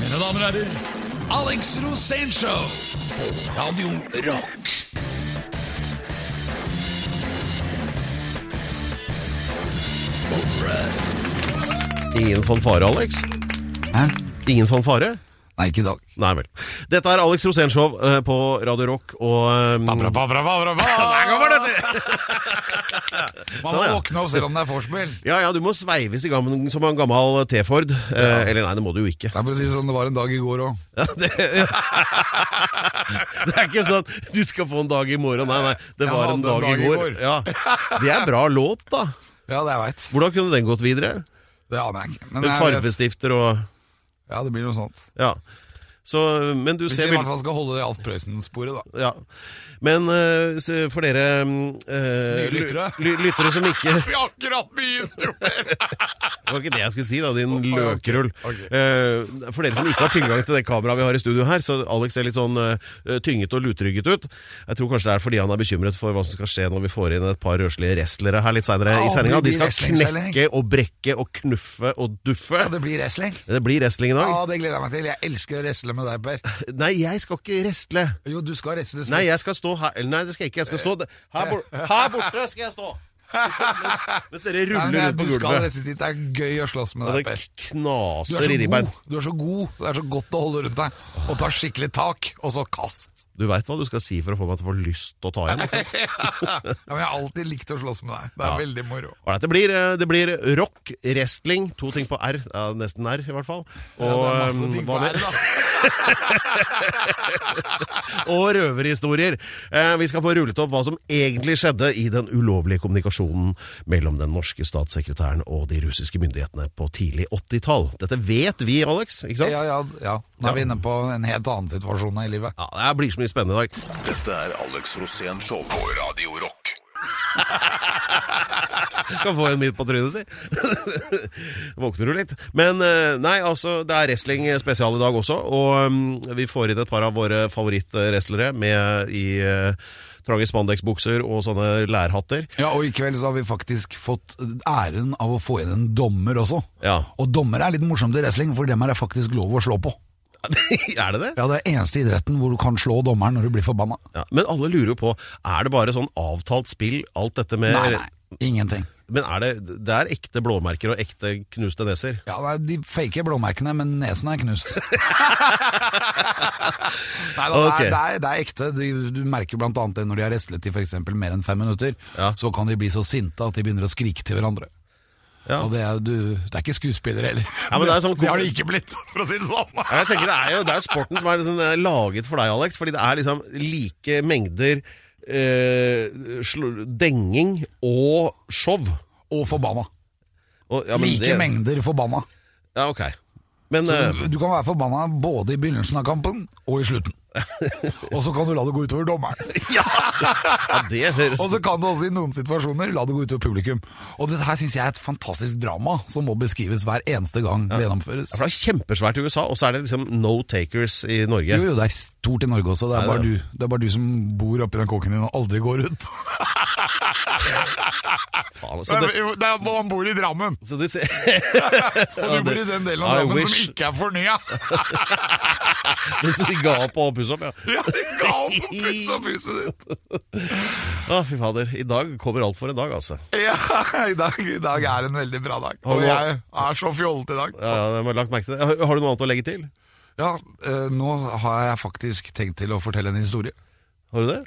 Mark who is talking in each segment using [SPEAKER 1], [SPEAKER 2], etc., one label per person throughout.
[SPEAKER 1] Mine damer og herrer, Alex Rosénshow på Radio Rock.
[SPEAKER 2] Ingen fanfare, Alex?
[SPEAKER 3] Hæ?
[SPEAKER 2] Ingen fanfare?
[SPEAKER 3] Nei, ikke i dag.
[SPEAKER 2] Nei vel. Dette er Alex Rosénshow eh, på Radio Rock, og ehm,
[SPEAKER 3] Der kommer dette! Man må
[SPEAKER 2] Sånn, ja.
[SPEAKER 3] våkne opp selv om det er vorspiel.
[SPEAKER 2] ja, ja, du må sveives i gammel, som en gammel T-Ford. Eh, Eller nei, det må du jo ikke.
[SPEAKER 3] Det er for å si det sånn, det var en dag i går òg.
[SPEAKER 2] Ja, det, det er ikke sånn du skal få en dag i morgen. Nei, nei, det
[SPEAKER 3] Jeg
[SPEAKER 2] var en
[SPEAKER 3] hadde
[SPEAKER 2] dag, i går. Ja. Det er bra låt, da.
[SPEAKER 3] Ja, det jeg veit.
[SPEAKER 2] Hvordan kunne den gått videre?
[SPEAKER 3] Det aner jeg ikke. Men jeg
[SPEAKER 2] Med
[SPEAKER 3] vet.
[SPEAKER 2] farvestifter og
[SPEAKER 3] Ja, det blir noe sånt.
[SPEAKER 2] Ja. Så, men du
[SPEAKER 3] Hvis
[SPEAKER 2] ser
[SPEAKER 3] vi i hvert
[SPEAKER 2] bil-
[SPEAKER 3] fall skal holde det Alf Prøysen-sporet, da.
[SPEAKER 2] ja. Men eh, se- for dere mm, eh,
[SPEAKER 3] Nye lyttere.
[SPEAKER 2] ly- lyttere som ikke
[SPEAKER 3] Vi har akkurat begynt, jo!
[SPEAKER 2] Det var ikke det jeg skulle si, da, din
[SPEAKER 3] ok.
[SPEAKER 2] løkrull.
[SPEAKER 3] Ok.
[SPEAKER 2] Eh, for dere som ikke har tilgang til det kameraet vi har i studio her, så Alex ser litt sånn eh, tynget og lutrygget ut. Jeg tror kanskje det er fordi han er bekymret for hva som skal skje når vi får inn et par røslige wrestlere her litt seinere
[SPEAKER 3] Ja,
[SPEAKER 2] i sendinga.
[SPEAKER 3] det
[SPEAKER 2] De
[SPEAKER 3] blir
[SPEAKER 2] skal
[SPEAKER 3] wrestling-sending.
[SPEAKER 2] knekke og brekke og knuffe og duffe.
[SPEAKER 3] Ja, det blir wrestling.
[SPEAKER 2] Det blir wrestling i dag.
[SPEAKER 3] Ja, det gleder jeg meg til. Jeg elsker å wrestle med deg, Per.
[SPEAKER 2] Nei, jeg skal ikke wrestle.
[SPEAKER 3] Jo, du skal wrestle.
[SPEAKER 2] Nei, jeg skal stå her Eller Nei, det skal jeg ikke. Jeg skal stå der- her, bor her borte. skal jeg stå mens, mens dere ruller
[SPEAKER 3] Nei, men
[SPEAKER 2] rundt på
[SPEAKER 3] Du skal
[SPEAKER 2] gulvet.
[SPEAKER 3] wrestle sitt. Det er gøy å slåss med
[SPEAKER 2] Og
[SPEAKER 3] deg,
[SPEAKER 2] det
[SPEAKER 3] Per. Du er,
[SPEAKER 2] knaser i
[SPEAKER 3] så
[SPEAKER 2] ribbein.
[SPEAKER 3] god. du er så god, det er så godt å holde rundt deg og ta skikkelig tak, og så kast.
[SPEAKER 2] Du veit hva du skal si for å få meg til å få lyst til å ta igjen. ikke sant?
[SPEAKER 3] Ja, men jeg har alltid likt å slåss med deg. Det er
[SPEAKER 2] Ja.
[SPEAKER 3] veldig moro.
[SPEAKER 2] Ålreit, det, blir, eh, det blir rock, wrestling, to ting på R. Ja, nesten R, i hvert fall. Og,
[SPEAKER 3] Ja, det er masse
[SPEAKER 2] eh,
[SPEAKER 3] ting
[SPEAKER 2] hva
[SPEAKER 3] på
[SPEAKER 2] mer?
[SPEAKER 3] her, da.
[SPEAKER 2] og røverhistorier. Eh, vi skal få rullet opp hva som egentlig skjedde i den ulovlige kommunikasjonen mellom den norske statssekretæren og de russiske myndighetene på tidlig 80-tall. Dette vet vi, Alex, ikke sant?
[SPEAKER 3] Ja, ja, ja. Nå er vi inne på en helt annen situasjon i livet.
[SPEAKER 2] Ja, Det blir så mye spennende i dag.
[SPEAKER 1] Dette er Alex Rosén Show på Radio Rock.
[SPEAKER 2] Kan få en midt på trynet, si. Våkner du litt. Men eh, nei, altså, det er wrestling spesial i dag også. Og mm, vi får inn et par av våre favorittwrestlere med i eh, trange spandeksbukser og sånne lærhatter.
[SPEAKER 3] Ja, og i kveld så har vi faktisk fått æren av å få inn en dommer også.
[SPEAKER 2] Ja.
[SPEAKER 3] Og dommere er litt morsomt i wrestling, for dem er det faktisk lov å slå på.
[SPEAKER 2] er det det?
[SPEAKER 3] Ja, det er eneste idretten hvor du kan slå dommeren når du blir forbanna.
[SPEAKER 2] Ja, men alle lurer jo på, er det bare sånn avtalt spill, alt dette med
[SPEAKER 3] Nei, nei, ingenting.
[SPEAKER 2] Men er det, det er ekte blåmerker og ekte knuste neser?
[SPEAKER 3] Ja, nei, De faker blåmerkene, men nesen er knust. nei, da,
[SPEAKER 2] Ok.
[SPEAKER 3] det, er, det, er, det er ekte. Du, du merker blant annet det når de har wrestlet i for eksempel mer enn fem minutter.
[SPEAKER 2] Ja.
[SPEAKER 3] Så kan de bli så sinte at de begynner å skrike til hverandre.
[SPEAKER 2] Ja.
[SPEAKER 3] Og det er, du, det er ikke skuespillere heller.
[SPEAKER 2] Ja, men det er sånn-
[SPEAKER 3] har det ikke blitt, for å si det sånn.
[SPEAKER 2] Ja, jeg tenker Det er jo det er sporten som er liksom eh, laget for deg, Alex. Fordi det er liksom like mengder eh, sl- denging og show.
[SPEAKER 3] Og forbanna.
[SPEAKER 2] Og, ja, men
[SPEAKER 3] like
[SPEAKER 2] det-
[SPEAKER 3] mengder forbanna.
[SPEAKER 2] Ja, ok. Men eh,
[SPEAKER 3] Du kan være forbanna både i begynnelsen av kampen og i slutten. og så kan du la det gå utover dommeren.
[SPEAKER 2] ja, ja, det høres
[SPEAKER 3] Og så kan du også i noen situasjoner la det gå utover publikum. Og det her syns jeg er et fantastisk drama som må beskrives hver eneste gang det gjennomføres.
[SPEAKER 2] For det er kjempesvært i USA, og så er det liksom no takers i Norge.
[SPEAKER 3] Jo, jo, det er stort i Norge også. Det er,
[SPEAKER 2] Nei,
[SPEAKER 3] bare
[SPEAKER 2] det-
[SPEAKER 3] du, det er bare du som bor oppi den kåken din og aldri går ut.
[SPEAKER 2] Faen, så det,
[SPEAKER 3] man bor i Drammen,
[SPEAKER 2] så det, ser-
[SPEAKER 3] og
[SPEAKER 2] Ja, det- I wish.
[SPEAKER 3] ikke er fornya.
[SPEAKER 2] så de ga opp å pusse opp, ja.
[SPEAKER 3] Ja, gal på puss og puset ditt.
[SPEAKER 2] Å, fy fader. I dag kommer alt for en dag, altså.
[SPEAKER 3] Ja, i dag, i dag er en veldig bra dag.
[SPEAKER 2] Har
[SPEAKER 3] Og
[SPEAKER 2] du-
[SPEAKER 3] jeg er så fjollete i dag.
[SPEAKER 2] Ja, ja, jeg har lagt merke til det. Har, har du noe annet å legge til?
[SPEAKER 3] Ja, eh, nå har jeg faktisk tenkt til å fortelle en historie.
[SPEAKER 2] Har du det?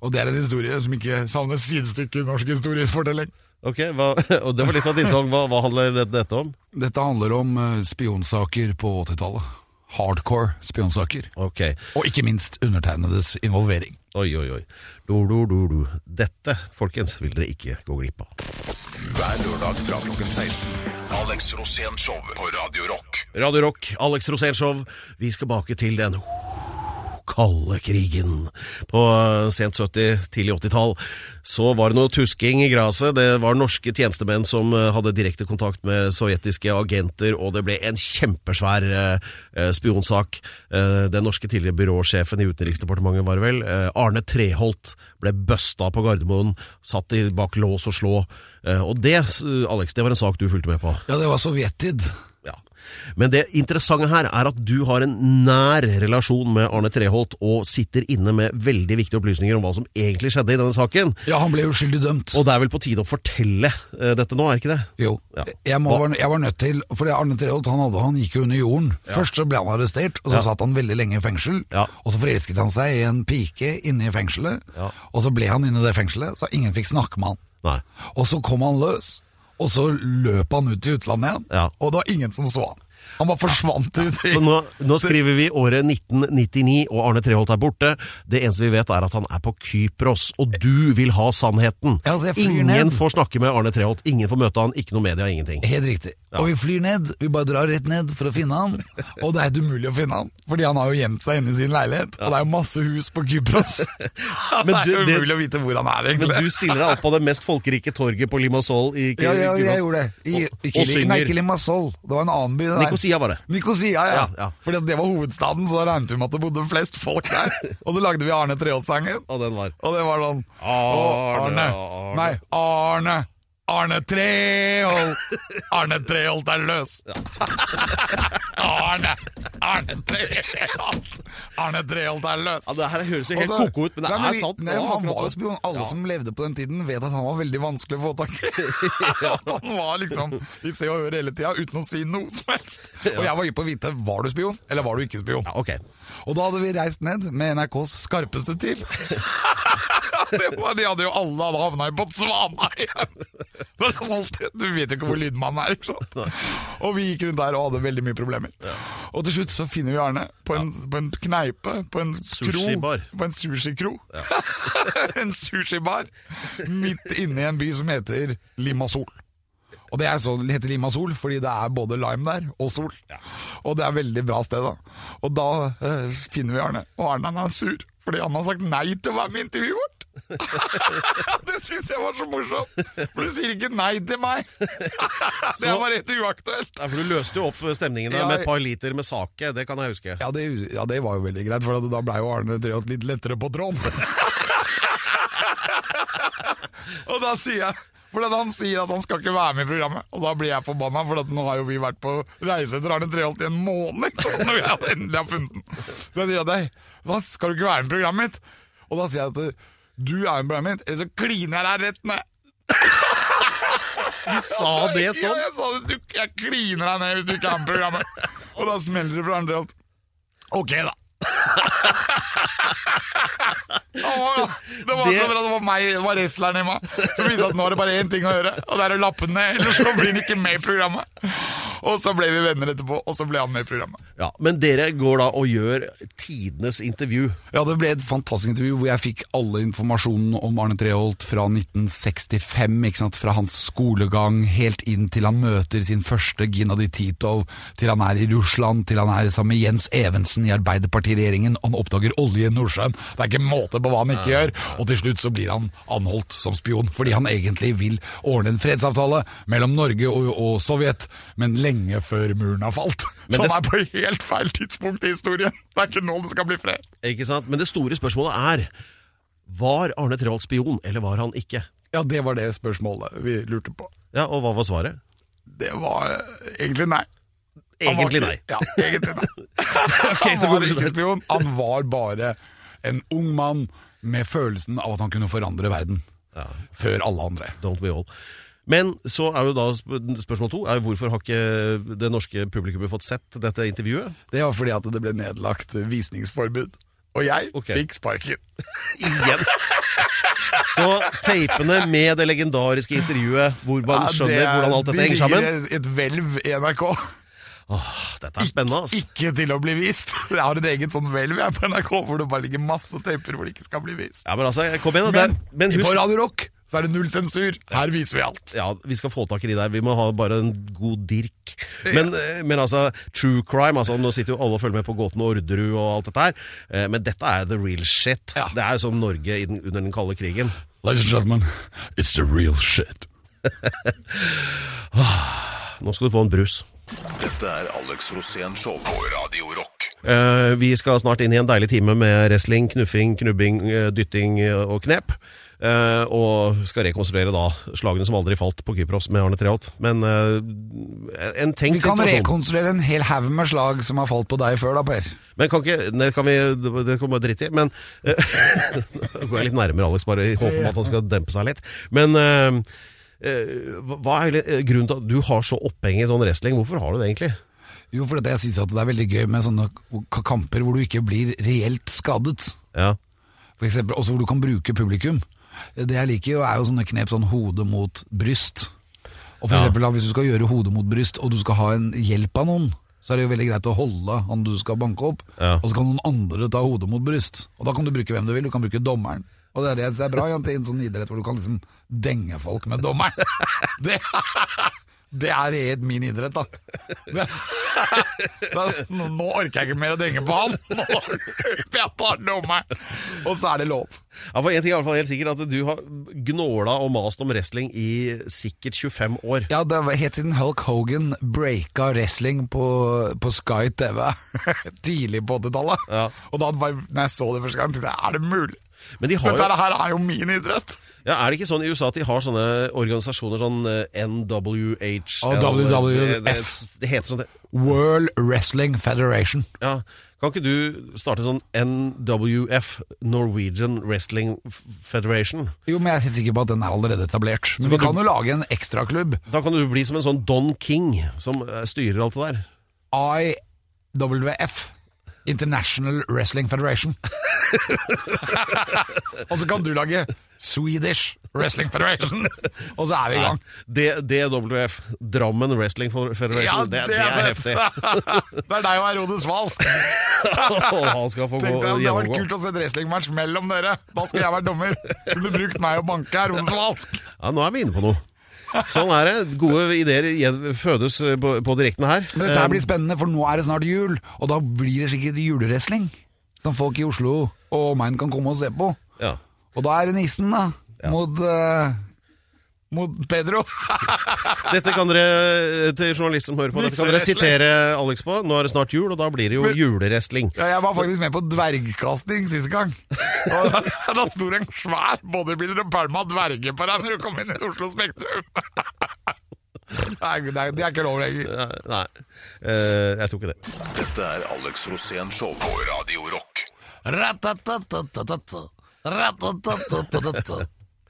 [SPEAKER 3] Og det er en historie som ikke savner sidestykke i norsk historiefortelling.
[SPEAKER 2] Ok, hva, og det var litt av et innsalg. Hva, hva handler det- dette om?
[SPEAKER 3] Dette handler om eh, spionsaker på 80-tallet. Hardcore spionsaker.
[SPEAKER 2] Ok.
[SPEAKER 3] Og ikke minst undertegnedes involvering.
[SPEAKER 2] Oi, oi, oi. Du, du, du, du. Dette, folkens, vil dere ikke gå glipp av.
[SPEAKER 1] Hver lørdag fra klokken 16. Alex Rosén Show på Radio Rock.
[SPEAKER 2] Radio Rock, Alex Rosénshow. Vi skal bake til den kalde krigen. På eh, sent 70-, tidlig 80-tall så var det noe tusking i gresset. Det var norske tjenestemenn som eh, hadde direkte kontakt med sovjetiske agenter, og det ble en kjempesvær eh, eh, spionsak. Eh, den norske tidligere byråsjefen i Utenriksdepartementet, var det vel, eh, Arne Treholt, ble busta på Gardermoen, satt i bak lås og slå. Eh, og det, s- Alex, det var en sak du fulgte med på.
[SPEAKER 3] Ja, det var sovjettid.
[SPEAKER 2] Ja. Men det interessante her er at du har en nær relasjon med Arne Treholt, og sitter inne med veldig viktige opplysninger om hva som egentlig skjedde i denne saken.
[SPEAKER 3] Ja, han ble jo skyldig dømt.
[SPEAKER 2] Og det er vel på tide å fortelle eh, dette nå, er ikke det?
[SPEAKER 3] Jo,
[SPEAKER 2] Ja.
[SPEAKER 3] jeg, må,
[SPEAKER 2] Hva-
[SPEAKER 3] var- jeg var nødt til For det Arne Treholt han, hadde, han gikk jo under jorden. Først så ble han arrestert, og så
[SPEAKER 2] Ja.
[SPEAKER 3] satt han veldig lenge i fengsel.
[SPEAKER 2] Ja.
[SPEAKER 3] Og så forelsket han seg i en pike inne i fengselet,
[SPEAKER 2] Ja.
[SPEAKER 3] og så ble han inne i det fengselet, så ingen fikk snakke med han.
[SPEAKER 2] Nei.
[SPEAKER 3] Og så kom han løs, og så løp han ut til utlandet igjen,
[SPEAKER 2] Ja.
[SPEAKER 3] og det var ingen som så han. Han bare forsvant ut. i-
[SPEAKER 2] Så nå, nå skriver vi året 1999, og Arne Treholt er borte. Det eneste vi vet, er at han er på Kypros, og du vil ha sannheten.
[SPEAKER 3] Ja, altså, jeg flyr
[SPEAKER 2] Ingen
[SPEAKER 3] ned.
[SPEAKER 2] får snakke med Arne Treholt, ingen får møte han, ikke noe media, ingenting.
[SPEAKER 3] Helt riktig. Og vi flyr ned, vi bare drar rett ned for å finne han. Og det er helt umulig å finne han, fordi han har jo gjemt seg inne i sin leilighet. Og det er jo masse hus på Kypros.
[SPEAKER 2] Men
[SPEAKER 3] det er jo
[SPEAKER 2] du- det-
[SPEAKER 3] umulig å vite hvor han er, egentlig.
[SPEAKER 2] Men du stiller deg opp på det mest folkerike torget på Limassol i Ky-
[SPEAKER 3] Ja, ja,
[SPEAKER 2] Kypros.
[SPEAKER 3] jeg gjorde det. I,
[SPEAKER 2] Og-
[SPEAKER 3] i
[SPEAKER 2] og
[SPEAKER 3] Kili, nei, ikke
[SPEAKER 2] synger.
[SPEAKER 3] Limassol. Det var en annen by. det der.
[SPEAKER 2] Nicosia var det.
[SPEAKER 3] Nicosia, ja.
[SPEAKER 2] Ja, ja.
[SPEAKER 3] Fordi at det var hovedstaden, så da regnet vi med at det bodde flest folk der. Og så lagde vi Arne Treholt-sangen.
[SPEAKER 2] Og den var
[SPEAKER 3] Og det var sånn
[SPEAKER 2] Arne,
[SPEAKER 3] «Å,
[SPEAKER 2] Arne».
[SPEAKER 3] Nei, Arne. Arne Treholt. Arne Treholt er løs. Arne. Arne Treholt. Arne Treholt er løs.
[SPEAKER 2] ja, Det her høres jo helt
[SPEAKER 3] Og så-
[SPEAKER 2] koko ut, men det
[SPEAKER 3] Altså, Nei,
[SPEAKER 2] er
[SPEAKER 3] vi-
[SPEAKER 2] sant.
[SPEAKER 3] Nei,
[SPEAKER 2] Det var
[SPEAKER 3] han
[SPEAKER 2] akkurat
[SPEAKER 3] var jo
[SPEAKER 2] sånn.
[SPEAKER 3] spion. Alle som levde på den tiden, vet at han var veldig vanskelig å få tak i. han var liksom i Se og Hør hele tida uten å si noe som helst. Og jeg var hypp på å vite var du spion, eller var du ikke spion.
[SPEAKER 2] ja, ok.
[SPEAKER 3] Og da hadde vi reist ned med NRKs skarpeste til. Det var- De hadde jo alle hadde havna i Botswana igjen! Men alltid, du vet jo ikke hvor lydmannen er, ikke sant? Og vi gikk rundt der og hadde veldig mye problemer. Og til slutt så finner vi Arne på en, på en kneipe, på en
[SPEAKER 2] Sushibar.
[SPEAKER 3] kro. På en sushikro. en sushibar midt inne i en by som heter Limassol. Og det er så, det heter Limassol, fordi det er både lime der og sol. Og det er veldig bra sted, da. Og da eh, finner vi Arne, og Arne han er sur. Fordi han har sagt nei til å være med i intervjuet vårt. det syns jeg var så morsomt! For du sier ikke nei til meg! det er bare helt uaktuelt.
[SPEAKER 2] Ja, for Du løste jo opp stemningen der
[SPEAKER 3] Ja,
[SPEAKER 2] med et par liter med sake, det kan jeg huske.
[SPEAKER 3] Ja det, ja, det var jo veldig greit, for da blei jo Arne Treholt litt lettere på tråden. og da sier jeg for at Han sier at han skal ikke være med i programmet, og da blir jeg forbanna. For at nå har jo vi vært på reise etter Arne Treholt i en måned. ikke sant, Når vi endelig har funnet den. Så jeg sier at «Hei, da skal du ikke være med i programmet mitt. Og da sier jeg at du er med i programmet mitt, eller så kliner jeg deg rett ned.
[SPEAKER 2] Du sa det sånn!
[SPEAKER 3] Ja, jeg sa det. Du, jeg kliner deg ned hvis du ikke er med i programmet. Og da smeller det fra andre alt. Ok, da. Ja, ja. Det var
[SPEAKER 2] Det-
[SPEAKER 3] så bra, det var meg, det var wrestleren i meg som visste at nå er det bare én ting å gjøre, og det er å lappe den ned, ellers så blir han ikke med i programmet. Og så ble vi venner etterpå, og så ble han med i programmet.
[SPEAKER 2] Ja, Men dere går da og gjør tidenes intervju.
[SPEAKER 3] Ja, det ble et fantastisk intervju hvor jeg fikk alle informasjonen om Arne Treholt fra 1965, ikke sant? fra hans skolegang, helt inn til han møter sin første Gennadij Titov, til han er i Russland, til han er sammen med Jens Evensen i Arbeiderpartiregjeringen, han oppdager olje i Nordsjøen. Det er ikke måte på hva han ikke gjør, og til slutt så blir han anholdt som spion, fordi han egentlig vil ordne en fredsavtale mellom Norge og, og Sovjet, men lenge før muren har falt.
[SPEAKER 2] Men
[SPEAKER 3] Så
[SPEAKER 2] det-
[SPEAKER 3] han er på helt feil tidspunkt i historien. Det er ikke nå det skal bli fred.
[SPEAKER 2] ikke sant? Men det store spørsmålet er Var Arne Treholt spion, eller var han ikke?
[SPEAKER 3] Ja, det var det spørsmålet vi lurte på.
[SPEAKER 2] Ja, Og hva var svaret?
[SPEAKER 3] Det var eh, egentlig nei. Han var
[SPEAKER 2] Egentlig nei.
[SPEAKER 3] ikke- Ja, egentlig nei. han
[SPEAKER 2] Ok, så
[SPEAKER 3] var
[SPEAKER 2] går vi
[SPEAKER 3] ikke
[SPEAKER 2] videre.
[SPEAKER 3] spion, han var bare en ung mann med følelsen av at han kunne forandre verden. Før alle andre.
[SPEAKER 2] Don't we all. Men så er jo da sp- spørsmål to er jo hvorfor har ikke det norske publikummet fått sett dette intervjuet?
[SPEAKER 3] Det var fordi at det ble nedlagt visningsforbud. Og jeg
[SPEAKER 2] Ok.
[SPEAKER 3] fikk sparken.
[SPEAKER 2] Igjen! Så tapene med det legendariske intervjuet hvor man
[SPEAKER 3] Ja,
[SPEAKER 2] skjønner
[SPEAKER 3] det er-
[SPEAKER 2] hvordan alt dette
[SPEAKER 3] De
[SPEAKER 2] henger sammen
[SPEAKER 3] ligger i et hvelv i NRK.
[SPEAKER 2] Åh, Dette er spennende, altså.
[SPEAKER 3] Ikke til å bli vist. Jeg har et eget sånn hvelv jeg, på NRK hvor det bare ligger masse taper hvor det ikke skal bli vist.
[SPEAKER 2] Ja, men altså, kom igjen, da.
[SPEAKER 3] Men, på
[SPEAKER 2] Det er- Men husk
[SPEAKER 3] Radio Rock så er det null sensur. Her viser vi alt.
[SPEAKER 2] ja, vi skal få tak i de der. Vi må ha bare en god dirk. Men, eh, men altså, true crime altså, Nå sitter jo alle og følger med på Gåten og Orderud og alt dette her, eh, men dette er the real shit.
[SPEAKER 3] Ja.
[SPEAKER 2] Det er jo som Norge i den, under den kalde krigen.
[SPEAKER 3] Ladies and gentlemen, it's the real shit.
[SPEAKER 2] Nå skal du få en brus.
[SPEAKER 1] Dette er Alex Rosén Show på Radio Rock.
[SPEAKER 2] Eh, vi skal snart inn i en deilig time med wrestling, knuffing, knubbing, eh, dytting eh, og knep. eh, og skal rekonstruere da slagene som aldri falt på Kypros med Arne Treholt. Men eh, en
[SPEAKER 3] Vi
[SPEAKER 2] tenkt
[SPEAKER 3] kan
[SPEAKER 2] situasjon.
[SPEAKER 3] rekonstruere en hel haug med slag som har falt på deg før, da, Per.
[SPEAKER 2] Men kan ikke, det kan vi det kan vi bare drite i. Men eh, Nå går jeg litt nærmere Alex, bare i håp om at han skal dempe seg litt. Men eh, eh, hva er egentlig eh, grunnen til at du har så oppheng i sånn wrestling? Hvorfor har du det egentlig?
[SPEAKER 3] Jo, for jeg syns det er veldig gøy med sånne k- kamper hvor du ikke blir reelt skadet.
[SPEAKER 2] Ja,
[SPEAKER 3] For eksempel, også hvor du kan bruke publikum. Det jeg liker jo er jo sånne knep sånn hode mot bryst. Og for
[SPEAKER 2] Ja.
[SPEAKER 3] eksempel da, hvis du skal gjøre hode mot bryst, og du skal ha en hjelp av noen, så er det jo veldig greit å holde han du skal banke opp,
[SPEAKER 2] Ja.
[SPEAKER 3] og så kan noen andre ta hodet mot bryst. Og da kan du bruke hvem du vil, du kan bruke dommeren. Og det er det jeg synes er bra Jan, til en sånn idrett hvor du kan liksom denge folk med dommeren. Det, det er helt min idrett, da. Men, men, nå orker jeg ikke mer å denge på han! Nå løper jeg på dommeren! Og så er det lov.
[SPEAKER 2] Ja, for En ting er i hvert fall helt sikkert, at du har gnåla og mast om wrestling i sikkert 25 år.
[SPEAKER 3] Ja, det var helt siden Hulk Hogan breaka wrestling på, på Sky TV tidlig på 80-tallet.
[SPEAKER 2] Ja.
[SPEAKER 3] Og da var, når jeg så det første gang, tenkte jeg er det mulig?
[SPEAKER 2] Men de har jo,
[SPEAKER 3] Dette her er jo min idrett!
[SPEAKER 2] ja, er det ikke sånn i USA at de har sånne organisasjoner sånn eh, NWH
[SPEAKER 3] Og
[SPEAKER 2] eller-
[SPEAKER 3] WWF.
[SPEAKER 2] Det, det, det heter sånn det.
[SPEAKER 3] World Wrestling Federation.
[SPEAKER 2] Ja. Kan ikke du starte sånn NWF, Norwegian Wrestling F- Federation?
[SPEAKER 3] Jo, men jeg er helt sikker på at den er allerede etablert. Men vi
[SPEAKER 2] kan
[SPEAKER 3] kan jo lage en ekstraklubb.
[SPEAKER 2] Da kan du bli som en sånn Don King som eh, styrer alt det der.
[SPEAKER 3] IWF. International Wrestling Federation. Og så kan du lage Swedish Wrestling Federation! Og så er vi i gang.
[SPEAKER 2] D- DWF, Drammen Wrestling Fo- Federation. det, det er heftig.
[SPEAKER 3] heftig. det er deg og Herodes Vals.
[SPEAKER 2] Og han skal få gå
[SPEAKER 3] Tenkte jeg, Det hadde vært
[SPEAKER 2] gjennomgå.
[SPEAKER 3] kult å se et wrestlingmatch mellom dere. Da skal jeg være dommer. Kunne brukt meg og banke Herodes Vals.
[SPEAKER 2] Ja, nå er vi inne på noe. Sånn er det. Gode ideer gjen- fødes eh, på, på direkten her.
[SPEAKER 3] Men dette her blir spennende, for nå er det snart jul, og da blir det sikkert julewrestling. Som folk i Oslo og omegn kan komme og se på.
[SPEAKER 2] Eh, ja.
[SPEAKER 3] Og da er det nissen, da. Mot, eh, mot Pedro.
[SPEAKER 2] Dette kan dere eh, til journalister som hører på, dette kan dere sitere Alex på. Nå er det snart jul, og da blir det jo julerestling.
[SPEAKER 3] Ja, jeg var faktisk med på dvergkasting sist gang. Og da- da sto det en svær bodybuilder og pælma dverger på deg når du kom inn i Oslo Spektrum. Nei, det er, det er ikke lov lenger.
[SPEAKER 2] Eh, Nei, eh, jeg tror ikke det.
[SPEAKER 1] Dette er Alex Rosén Show på Radio Rock.
[SPEAKER 3] Ratatatatata. Ratatatatata.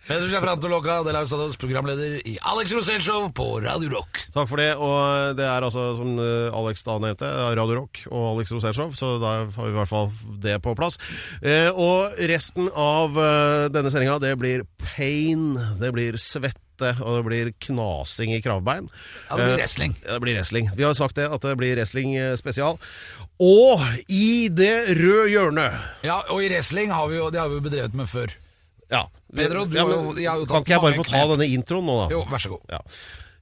[SPEAKER 3] Peder Sjafranto Locca, Del Austados, programleder i Alex Rosén Show på Radio Rock.
[SPEAKER 2] Takk for det. Og det er altså, som eh, Alex da nevnte, Radio Rock og Alex Rosenshov, så da har vi i hvert fall det på plass. Eh, og resten av eh, denne sendinga, det blir pain, det blir svette, og det blir knasing i kravbein.
[SPEAKER 3] Ja, det blir
[SPEAKER 2] Eh,
[SPEAKER 3] wrestling.
[SPEAKER 2] Ja, det blir wrestling. Vi har sagt det, at det blir wrestling eh, spesial. Og i det røde hjørnet
[SPEAKER 3] Ja, og i wrestling har vi jo, det har vi jo bedrevet med før.
[SPEAKER 2] Ja.
[SPEAKER 3] Pedro, du har jo- jeg har jo tatt
[SPEAKER 2] Kan ikke jeg bare
[SPEAKER 3] mange
[SPEAKER 2] få ta
[SPEAKER 3] knep.
[SPEAKER 2] denne introen nå, da?
[SPEAKER 3] Jo, vær så god.
[SPEAKER 2] Ja.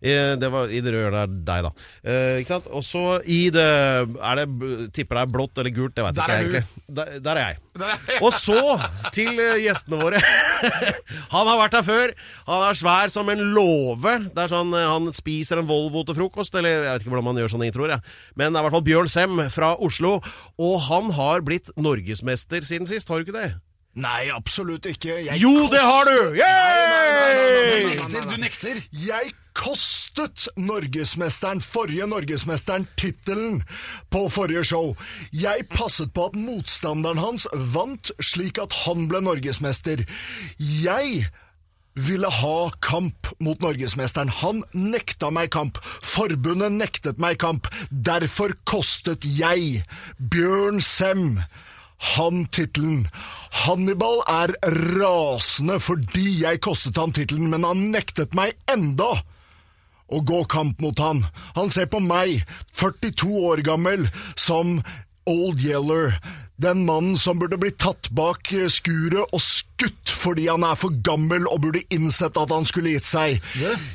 [SPEAKER 2] Eh, Det var i det røde hjørnet er deg, da. Eh, ikke sant? Og så i det er det, Tipper det er blått eller gult, det veit
[SPEAKER 3] Der
[SPEAKER 2] ikke
[SPEAKER 3] er
[SPEAKER 2] jeg
[SPEAKER 3] du.
[SPEAKER 2] egentlig. Der, der er jeg.
[SPEAKER 3] Der er jeg.
[SPEAKER 2] Og så til eh, gjestene våre. Han har vært her før. Han er svær som en låve. Det er sånn eh, Han spiser en Volvo til frokost, eller jeg vet ikke hvordan man gjør sånne introer. Jeg. Men det er i hvert fall Bjørn Sem fra Oslo. Og han har blitt norgesmester siden sist, har du ikke det?
[SPEAKER 4] Nei, absolutt ikke. Jeg
[SPEAKER 2] Jo, det har du!
[SPEAKER 4] nei, nei,
[SPEAKER 2] Yeah!
[SPEAKER 4] nei.
[SPEAKER 3] Nekter, du nekter.
[SPEAKER 4] Jeg kostet norgesmesteren, forrige norgesmesteren, tittelen på forrige show. Jeg passet på at motstanderen hans vant, slik at han ble norgesmester. Jeg ville ha kamp mot norgesmesteren. Han nekta meg kamp. Forbundet nektet meg kamp. Derfor kostet jeg Bjørn Sem han tittelen. Hannibal er rasende fordi jeg kostet han tittelen, men han nektet meg enda å gå kamp mot han. Han ser på meg, 42 år gammel, som Old Yeller. Den mannen som burde bli tatt bak eh, skuret og skutt fordi han er for gammel og burde innsett at han skulle gitt seg.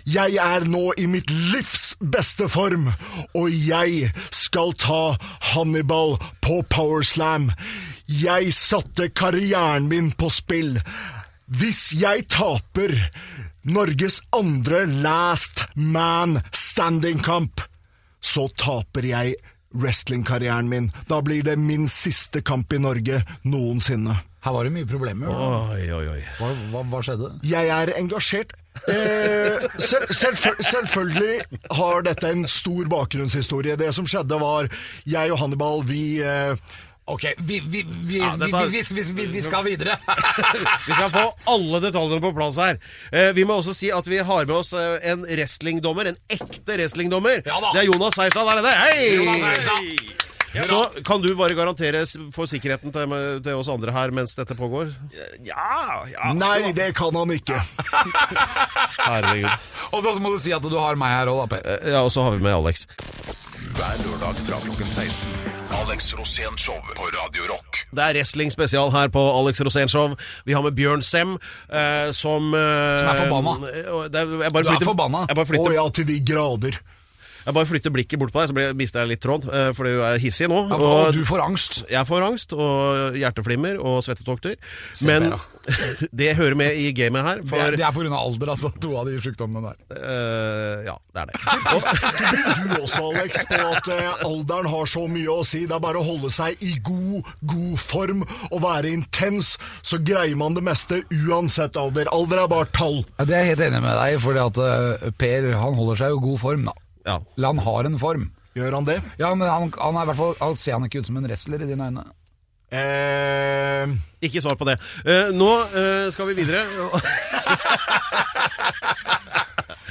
[SPEAKER 4] Jeg er nå i mitt livs beste form, og jeg skal ta Hannibal på Powerslam. Jeg satte karrieren min på spill. Hvis jeg taper Norges andre last man standing-kamp, så taper jeg wrestlingkarrieren min. Da blir det min siste kamp i Norge noensinne.
[SPEAKER 3] Her var det mye problemer. da.
[SPEAKER 2] Oi, oi, oi.
[SPEAKER 3] Hva, hva, hva skjedde?
[SPEAKER 4] Jeg er engasjert. Eh, selv, selvfø- selvfølgelig har dette en stor bakgrunnshistorie. Det som skjedde var jeg og Hannibal, vi eh,
[SPEAKER 3] Ok, vi, vi, vi,
[SPEAKER 2] Ja,
[SPEAKER 3] vi,
[SPEAKER 2] dette-
[SPEAKER 3] vi, vi, vi, vi skal videre.
[SPEAKER 2] Vi skal få alle detaljene på plass her. Eh, vi må også si at vi har med oss eh, en wrestlingdommer. En ekte wrestlingdommer.
[SPEAKER 3] Ja da.
[SPEAKER 2] det er Jonas Seierstad der nede. Hei!
[SPEAKER 3] Hei!
[SPEAKER 2] Så kan du bare garantere s- for sikkerheten til, til oss andre her mens dette pågår?
[SPEAKER 5] Ja, ja.
[SPEAKER 4] Nei, det kan han ikke.
[SPEAKER 2] Herregud.
[SPEAKER 3] Og så må du si at du har meg her òg, da, Per.
[SPEAKER 2] Eh, Ja, og så har vi med Alex.
[SPEAKER 1] Hver lørdag fra klokken 16. Alex Rosén Show på Radio Rock.
[SPEAKER 2] Det er wrestling spesial her på Alex Rosénshow. Vi har med Bjørn Sem, eh, som eh,
[SPEAKER 3] Som er forbanna.
[SPEAKER 2] eh, det er- Jeg bare
[SPEAKER 3] Du er
[SPEAKER 2] flytter-
[SPEAKER 3] forbanna.
[SPEAKER 2] Jeg bare
[SPEAKER 4] Å
[SPEAKER 2] flytter,
[SPEAKER 4] ja, til de grader.
[SPEAKER 2] jeg bare flytter blikket bort på deg, så blir- mister jeg litt tråd, eh, for du er hissig nå.
[SPEAKER 3] Og, og du får angst.
[SPEAKER 2] jeg får angst og hjerteflimmer og svettetokter.
[SPEAKER 3] Se
[SPEAKER 2] Men
[SPEAKER 3] på
[SPEAKER 2] det hører med i gamet her,
[SPEAKER 3] Det
[SPEAKER 2] for
[SPEAKER 3] er, det er på grunn av alder, altså. To av de sjukdommene der.
[SPEAKER 2] eh, Ja, det er det.
[SPEAKER 4] Du også, Alex, på at eh, alderen har så mye å si. Det er bare å holde seg i god, god form og være intens, så greier man det meste uansett alder. Alder er bare tall.
[SPEAKER 3] Ja, det er jeg helt enig med deg i, fordi at eh, Per han holder seg jo i god form, da.
[SPEAKER 2] Ja.
[SPEAKER 3] Eller han har en form.
[SPEAKER 4] Gjør han det?
[SPEAKER 3] Ja, men han, han er i hvert fall Han ser han ikke ut som en wrestler i dine øyne.
[SPEAKER 4] Eh,
[SPEAKER 2] Ikke svar på det. Eh, nå eh, skal vi videre.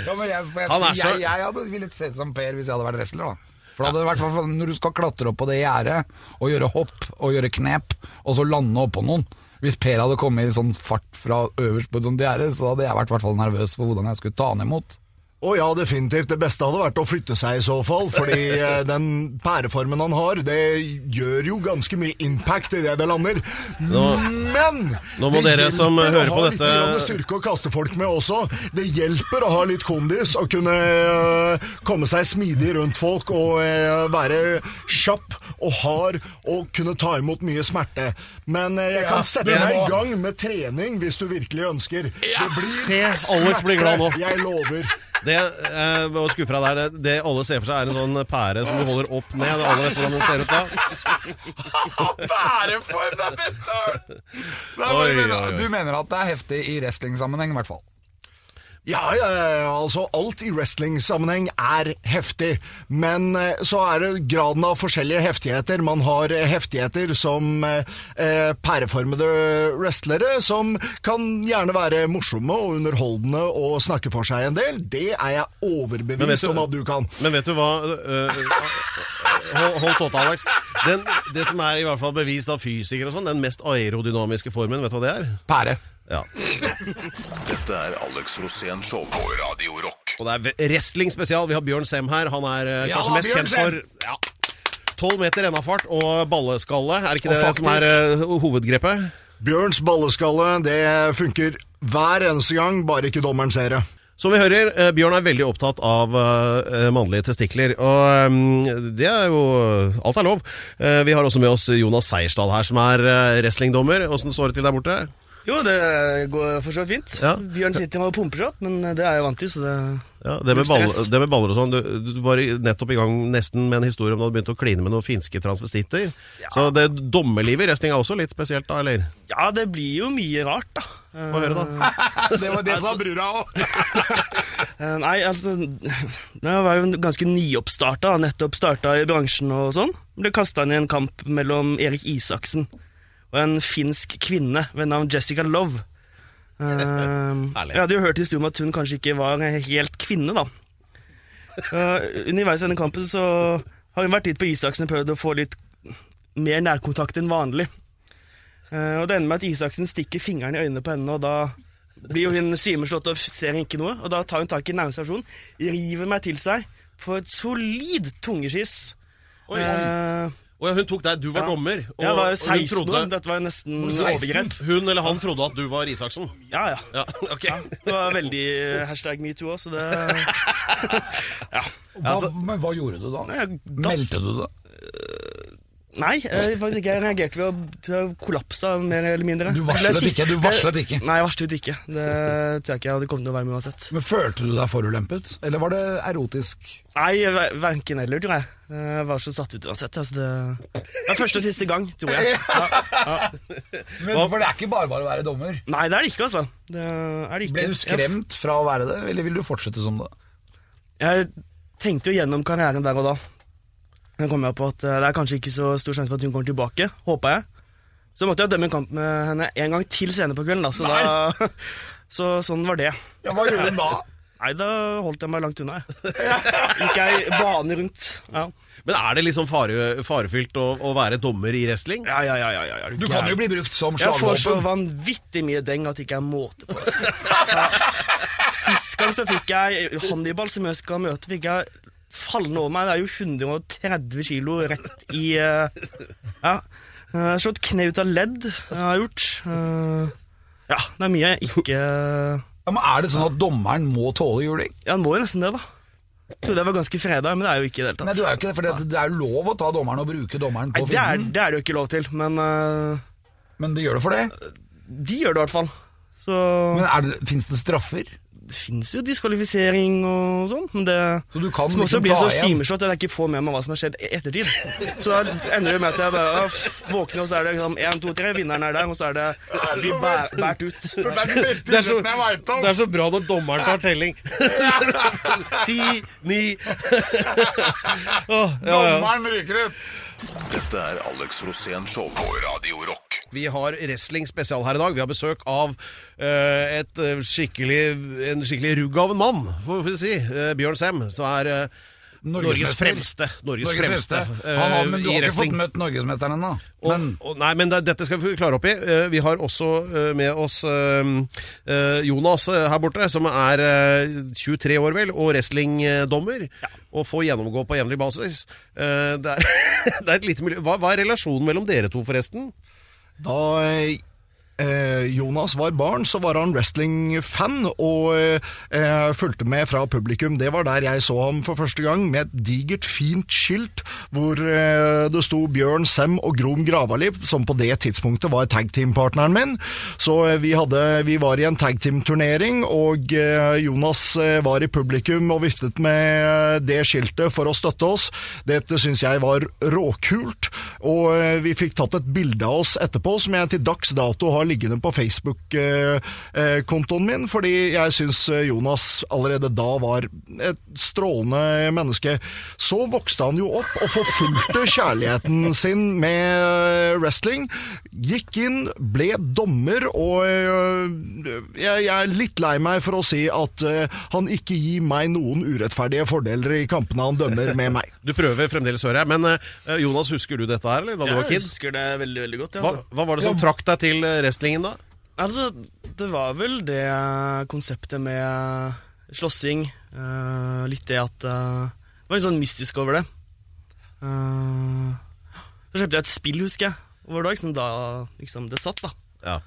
[SPEAKER 3] Ja, men jeg, jeg,
[SPEAKER 2] Han er
[SPEAKER 3] jeg,
[SPEAKER 2] så-
[SPEAKER 3] jeg hadde villet se ut som Per hvis jeg hadde vært wrestler, da. For da hadde det vært hvertfall når du skal klatre opp på det gjerdet, og gjøre hopp og gjøre knep, og så lande oppå noen. Hvis Per hadde kommet i sånn fart fra øverst på et sånt gjerde, så hadde jeg vært hvertfall nervøs for hvordan jeg skulle ta han imot.
[SPEAKER 4] Å ja, definitivt. Det beste hadde vært å flytte seg i så fall, fordi eh, den pæreformen han har, det gjør jo ganske mye impact idet det lander. Men
[SPEAKER 2] Nå må
[SPEAKER 4] det
[SPEAKER 2] dere som
[SPEAKER 4] hjelper
[SPEAKER 2] hører
[SPEAKER 4] å
[SPEAKER 2] på
[SPEAKER 4] ha
[SPEAKER 2] dette-
[SPEAKER 4] litt grann styrke å kaste folk med også. Det hjelper å ha litt kondis og kunne eh, komme seg smidig rundt folk og eh, være kjapp og hard og kunne ta imot mye smerte. Men eh, jeg kan sette
[SPEAKER 3] det
[SPEAKER 4] meg
[SPEAKER 3] må-
[SPEAKER 4] i gang med trening hvis du virkelig ønsker. Det blir
[SPEAKER 2] Se, Alex blir glad nå.
[SPEAKER 4] Jeg lover.
[SPEAKER 2] Det eh, å skuffe deg der, det alle ser for seg, er en sånn pære som du holder opp ned. og Alle vet hvordan den ser ut da.
[SPEAKER 3] Bæreform, det er beste jeg har hørt! Det er
[SPEAKER 2] Oi,
[SPEAKER 3] bare- men
[SPEAKER 2] oi, oi.
[SPEAKER 3] Du mener at det er heftig i wrestlingsammenheng, i hvert fall.
[SPEAKER 4] Ja, ja, ja, altså alt i wrestling-sammenheng er heftig, men eh, så er det graden av forskjellige heftigheter. Man har eh, heftigheter som eh, eh, pæreformede wrestlere, som kan gjerne være morsomme og underholdende og snakke for seg en del. Det er jeg
[SPEAKER 2] Men vet
[SPEAKER 4] overbevist
[SPEAKER 2] du-
[SPEAKER 4] om at du kan.
[SPEAKER 2] Men vet du hva? eh, eh, hold, hold tåta, Alex. Den, det som er i hvert fall bevist av fysikere og sånn, den mest aerodynamiske formen, vet du hva det er?
[SPEAKER 3] Pære.
[SPEAKER 2] Ja.
[SPEAKER 1] Dette er Alex Rosén Show på Radio Rock.
[SPEAKER 2] Og det er wrestling spesial. Vi har Bjørn Sem her. Han er eh,
[SPEAKER 3] Ja,
[SPEAKER 2] kanskje mest
[SPEAKER 3] Bjørn
[SPEAKER 2] kjent for ja, 12 meter rennafart og balleskalle. Er ikke
[SPEAKER 3] Og
[SPEAKER 2] det det som er eh, hovedgrepet?
[SPEAKER 4] Bjørns balleskalle, det funker hver eneste gang, bare ikke dommeren ser det.
[SPEAKER 2] Som vi hører, eh, Bjørn er veldig opptatt av eh, mannlige testikler. Og eh, det er jo Alt er lov. Eh, vi har også med oss Jonas Seierstad her, som er eh, wrestlingdommer. Åssen står det til der borte?
[SPEAKER 5] Jo, det går for så vidt fint.
[SPEAKER 2] Ja.
[SPEAKER 5] Bjørn sitter og pumper seg opp, men det er jeg vant til, så det
[SPEAKER 2] Ja, det, med
[SPEAKER 5] Null
[SPEAKER 2] ball,
[SPEAKER 5] stress.
[SPEAKER 2] det med baller og sånn. Du, du var i- nettopp i gang nesten med en historie om du hadde begynt å kline med noen finske transvestitter. Så det dommerlivet i wrestling er også litt spesielt, da, eller?
[SPEAKER 5] Ja, det blir jo mye rart, da.
[SPEAKER 2] Få høre, da.
[SPEAKER 3] Det var det sa brura òg.
[SPEAKER 5] Eh, Nei, altså Det var jo ganske nyoppstarta, nettopp starta i bransjen og sånn. Ble kasta inn i en kamp mellom Erik Isaksen og en finsk kvinne ved navn Jessica Love. Eh,
[SPEAKER 2] Herlig.
[SPEAKER 5] jeg hadde jo hørt historien om at hun kanskje ikke var helt kvinne, da. Eh, underveis i denne kampen så har hun vært litt på Isaksen og prøvd å få litt mer nærkontakt enn vanlig. Eh, og det ender med at Isaksen stikker fingeren i øynene på henne, og da blir jo hun svimeslått og ser ikke noe. Og da tar hun tak i nærmeste person, river meg til seg, får et solid tungeskiss.
[SPEAKER 2] Oi,
[SPEAKER 5] Eh,
[SPEAKER 2] Å ja, hun tok deg. Du var
[SPEAKER 5] Ja.
[SPEAKER 2] dommer. og-
[SPEAKER 5] jeg var jo
[SPEAKER 2] og hun
[SPEAKER 5] 16 år,
[SPEAKER 2] trodde-
[SPEAKER 5] dette var jo nesten
[SPEAKER 2] 16?
[SPEAKER 5] overgrep.
[SPEAKER 2] Hun eller han trodde at du var Isaksen.
[SPEAKER 5] Ja, ja.
[SPEAKER 2] Ja, ok.
[SPEAKER 5] Det var veldig eh, hashtag metoo òg, så det
[SPEAKER 3] Men hva gjorde du da?
[SPEAKER 5] Nei, jeg datt.
[SPEAKER 3] Meldte du det?
[SPEAKER 5] Nei, eh, faktisk ikke. Jeg reagerte ved å tror jeg kollapsa, mer eller mindre.
[SPEAKER 3] Du varslet
[SPEAKER 5] Jeg ble
[SPEAKER 3] ikke, du
[SPEAKER 5] siktet-
[SPEAKER 3] varslet ikke.
[SPEAKER 5] Nei, jeg varslet ikke. Det tror jeg ikke jeg hadde kommet til å være med uansett.
[SPEAKER 3] Men Følte du deg forulempet, eller var det erotisk?
[SPEAKER 5] Nei, ver- verken eller, tror jeg. Eh, Jeg var så satt ut uansett. Altså det... det var første og siste gang, tror jeg. Ja.
[SPEAKER 3] Men, for det er ikke bare bare å være dommer.
[SPEAKER 5] Nei, det er det ikke, altså. Det er det ikke.
[SPEAKER 3] Ble du skremt fra å være det, eller vil du fortsette som det?
[SPEAKER 5] Jeg, jeg tenkte jo gjennom karrieren der og da. Da kom jeg på at eh, det er kanskje ikke så stor sjanse for at hun kommer tilbake, håpa jeg. Så måtte jeg dømme en kamp med henne en gang til senere på kvelden, da. Så, da, så sånn var det.
[SPEAKER 3] Ja, Hva gjorde du da?
[SPEAKER 5] Nei, da holdt jeg meg langt unna, jeg. Gikk jeg bane rundt. Ja,
[SPEAKER 2] Men er det liksom fare, farefylt å, å være dommer i wrestling?
[SPEAKER 5] ja, ja. ja, ja, ja, ja.
[SPEAKER 3] Du kan jo bli brukt som
[SPEAKER 5] Jeg får så
[SPEAKER 3] slagvåpen.
[SPEAKER 5] vanvittig mye deng at det ikke er måte på. Altså. Ja. Sist gang så fikk jeg Hannibal, som jeg skal møte, fikk jeg fallende over meg. Det er jo 130 kilo rett i eh, Ja. Eh, Jeg har slått kne ut av ledd, jeg har gjort. Eh, ja, det er mye jeg ikke Ja,
[SPEAKER 3] Ja, men Er det sånn at dommeren må tåle juling?
[SPEAKER 5] en må jo nesten det, da. Jeg trodde jeg var ganske freda, men det er jo ikke i det hele tatt.
[SPEAKER 3] Nei, du er jo ikke det, for det er jo lov å ta dommeren og bruke dommeren
[SPEAKER 5] Nei,
[SPEAKER 3] på
[SPEAKER 5] det, er,
[SPEAKER 3] fienden.
[SPEAKER 5] det er det jo ikke lov til, men eh,
[SPEAKER 3] Men det gjør det for det.
[SPEAKER 5] de gjør det i hvert fall. Så
[SPEAKER 3] Men er det, Fins det straffer?
[SPEAKER 5] det fins jo diskvalifisering og sånn, men det
[SPEAKER 3] Så du kan
[SPEAKER 5] Som også
[SPEAKER 3] liksom
[SPEAKER 5] blir
[SPEAKER 3] ta
[SPEAKER 5] så
[SPEAKER 3] igjen?
[SPEAKER 5] simeslått at jeg ikke får med meg hva som har skjedd i ettertid. Så da ender det med at jeg bare ja, f- våkner, og så er det liksom én, to, tre, vinneren er der, og så er det blir bæ- båret ut.
[SPEAKER 3] Det er den beste
[SPEAKER 2] det er så bra når dommeren tar telling. Ti, ni Åh, ja, ja.
[SPEAKER 3] ryker ut!
[SPEAKER 1] Dette er Alex Rosén Show på Radio Rock.
[SPEAKER 2] Vi har wrestling spesial her i dag. Vi har besøk av eh, et eh, skikkelig, en skikkelig rugg av en mann, får vi si. eh, Bjørn Sem, som er eh, Norges,
[SPEAKER 3] Norgesmester.
[SPEAKER 2] fremste. Norges, fremste, eh,
[SPEAKER 3] Han har, men du
[SPEAKER 2] i
[SPEAKER 3] har ikke
[SPEAKER 2] wrestling.
[SPEAKER 3] fått møtt norgesmesteren ennå.
[SPEAKER 2] Og,
[SPEAKER 3] Men
[SPEAKER 2] og, nei, men det, dette skal vi klare opp i. Eh, vi har også eh, med oss eh, eh, Jonas eh, her borte, som er eh, 23 år vel, og wrestlingdommer. Og får gjennomgå på jevnlig basis. Eh, det, er, det er et lite miljø. Hva, hva er relasjonen mellom dere to, forresten?
[SPEAKER 4] Da eh, Jonas var barn, så var han wrestling-fan og eh, fulgte med fra publikum. Det var der jeg så ham for første gang, med et digert, fint skilt hvor eh, det sto Bjørn Sem og Grom Gravali, som på det tidspunktet var tagteam-partneren min. Så eh, vi, hadde, vi var i en tagteam-turnering, og eh, Jonas eh, var i publikum og viftet med eh, det skiltet for å støtte oss. Dette syns jeg var råkult, og eh, vi fikk tatt et bilde av oss etterpå som jeg til dags dato har liggende på Facebook-kontoen min, fordi jeg syns eh, Jonas allerede da var et strålende menneske. Så vokste han jo opp og forfulgte kjærligheten sin med eh, wrestling. Gikk inn, ble dommer, og eh, jeg, jeg er litt lei meg for å si at eh, han ikke gir meg noen urettferdige fordeler i kampene han dømmer med meg.
[SPEAKER 2] Du prøver fremdeles, hører jeg. Men eh, Jonas, husker du dette her, eller da du var
[SPEAKER 5] Jeg
[SPEAKER 2] kid?
[SPEAKER 5] husker det veldig, veldig godt. Ja,
[SPEAKER 2] Hva,
[SPEAKER 5] altså.
[SPEAKER 2] hva var det som trakk deg til eh, wrestlingen, da?
[SPEAKER 5] altså, det var vel det konseptet med slåssing. eh, litt det at eh, Det var litt sånn mystisk over det. Eh, så kjøpte jeg et spill, husker jeg. Og det var liksom da liksom, det satt, da.
[SPEAKER 2] Ja.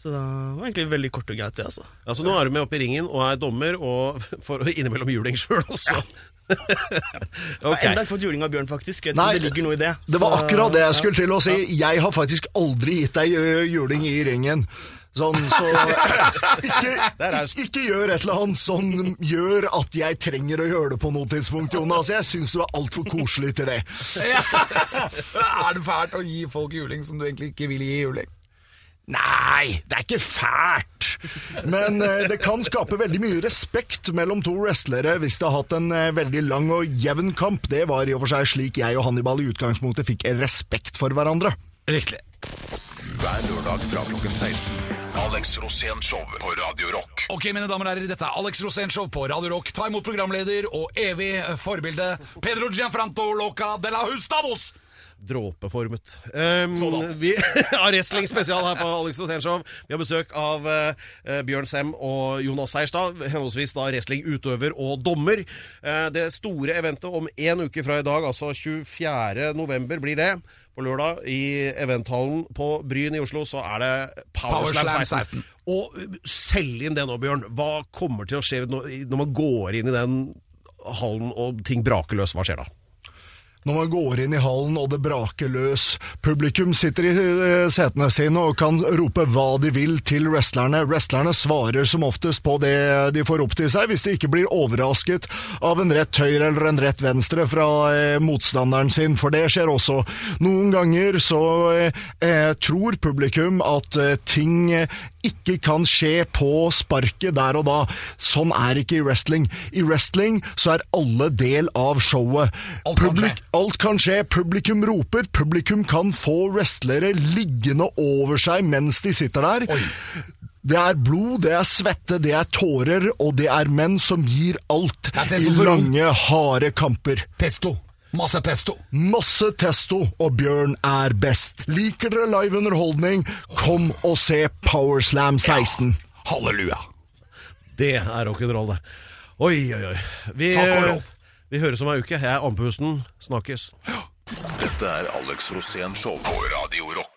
[SPEAKER 5] Så det var egentlig veldig kort og greit, det, altså.
[SPEAKER 2] Altså, nå er du med opp i ringen og er dommer, og for innimellom juling sjøl også.
[SPEAKER 5] Jeg har enda
[SPEAKER 2] ok.
[SPEAKER 5] ikke fått juling av Bjørn, faktisk. Jeg vet
[SPEAKER 4] Nei,
[SPEAKER 5] ikke om det ligger noe i det.
[SPEAKER 4] Det var
[SPEAKER 5] Så-
[SPEAKER 4] akkurat det jeg skulle til å si. Jeg har faktisk aldri gitt deg ø, juling i ringen. Sånn, så ikke,
[SPEAKER 2] er raust.
[SPEAKER 4] ikke gjør et eller annet som gjør at jeg trenger å gjøre det på noe tidspunkt, Jonas. Jeg syns du er altfor koselig til det.
[SPEAKER 3] er det fælt å gi folk juling som du egentlig ikke vil gi juling?
[SPEAKER 4] Nei, det er ikke fælt. Men eh, det kan skape veldig mye respekt mellom to wrestlere hvis det har hatt en eh, veldig lang og jevn kamp. Det var i og for seg slik jeg og Hannibal i utgangspunktet fikk respekt for hverandre.
[SPEAKER 3] Riktig.
[SPEAKER 1] Hver lørdag fra klokken 16. Alex Rosén Show på Radio Rock.
[SPEAKER 3] Ok, mine damer og herrer, dette er Alex Rosenshov på Radio Rock. Ta imot programleder og evig eh, forbilde Pedro Gianfranto Loca de la Hustados!
[SPEAKER 2] Dråpeformet. Um, vi har wrestling spesial her på Alex Rosénshow. Vi har besøk av eh, Bjørn Sem og Jonas Seierstad, henholdsvis da wrestlingutøver og dommer. Eh, det store eventet om én uke fra i dag, altså 24. november, blir det. På lørdag i eventhallen på Bryn i Oslo så er det
[SPEAKER 3] Power
[SPEAKER 2] Powerslam
[SPEAKER 3] Slam
[SPEAKER 2] 16. Og uh, selg inn det nå, Bjørn. Hva kommer til å skje når når man går inn i den hallen og ting braker løs? Hva skjer da?
[SPEAKER 4] når man går inn i hallen og det braker løs. Publikum sitter i eh, setene sine og kan rope hva de vil til wrestlerne. Wrestlerne svarer som oftest på det de får opp til seg, hvis de ikke blir overrasket av en rett høyre eller en rett venstre fra eh, motstanderen sin, for det skjer også. Noen ganger så eh, eh, tror publikum at eh, ting eh, ikke kan skje på sparket der og da. Sånn er ikke i wrestling. I wrestling så er alle del av showet.
[SPEAKER 3] Alt kan skje.
[SPEAKER 4] alt kan skje. Publikum roper, publikum kan få wrestlere liggende over seg mens de sitter der. Det er blod, det er svette, det er tårer, og det er menn som gir alt
[SPEAKER 3] er
[SPEAKER 4] i
[SPEAKER 3] testosteron.
[SPEAKER 4] lange, harde kamper.
[SPEAKER 3] Testo. Masse testo.
[SPEAKER 4] Masse testo, og Bjørn er best. Liker dere live underholdning, kom og se Powerslam 16.
[SPEAKER 3] Halleluja.
[SPEAKER 2] Det er rock'n'roll, det. Oi, oi, oi. Vi, eh,
[SPEAKER 3] Takk og lov.
[SPEAKER 2] vi høres om ei uke. Jeg er andpusten. Snakkes.
[SPEAKER 1] Dette er Alex Rosén Show på Radio Rock.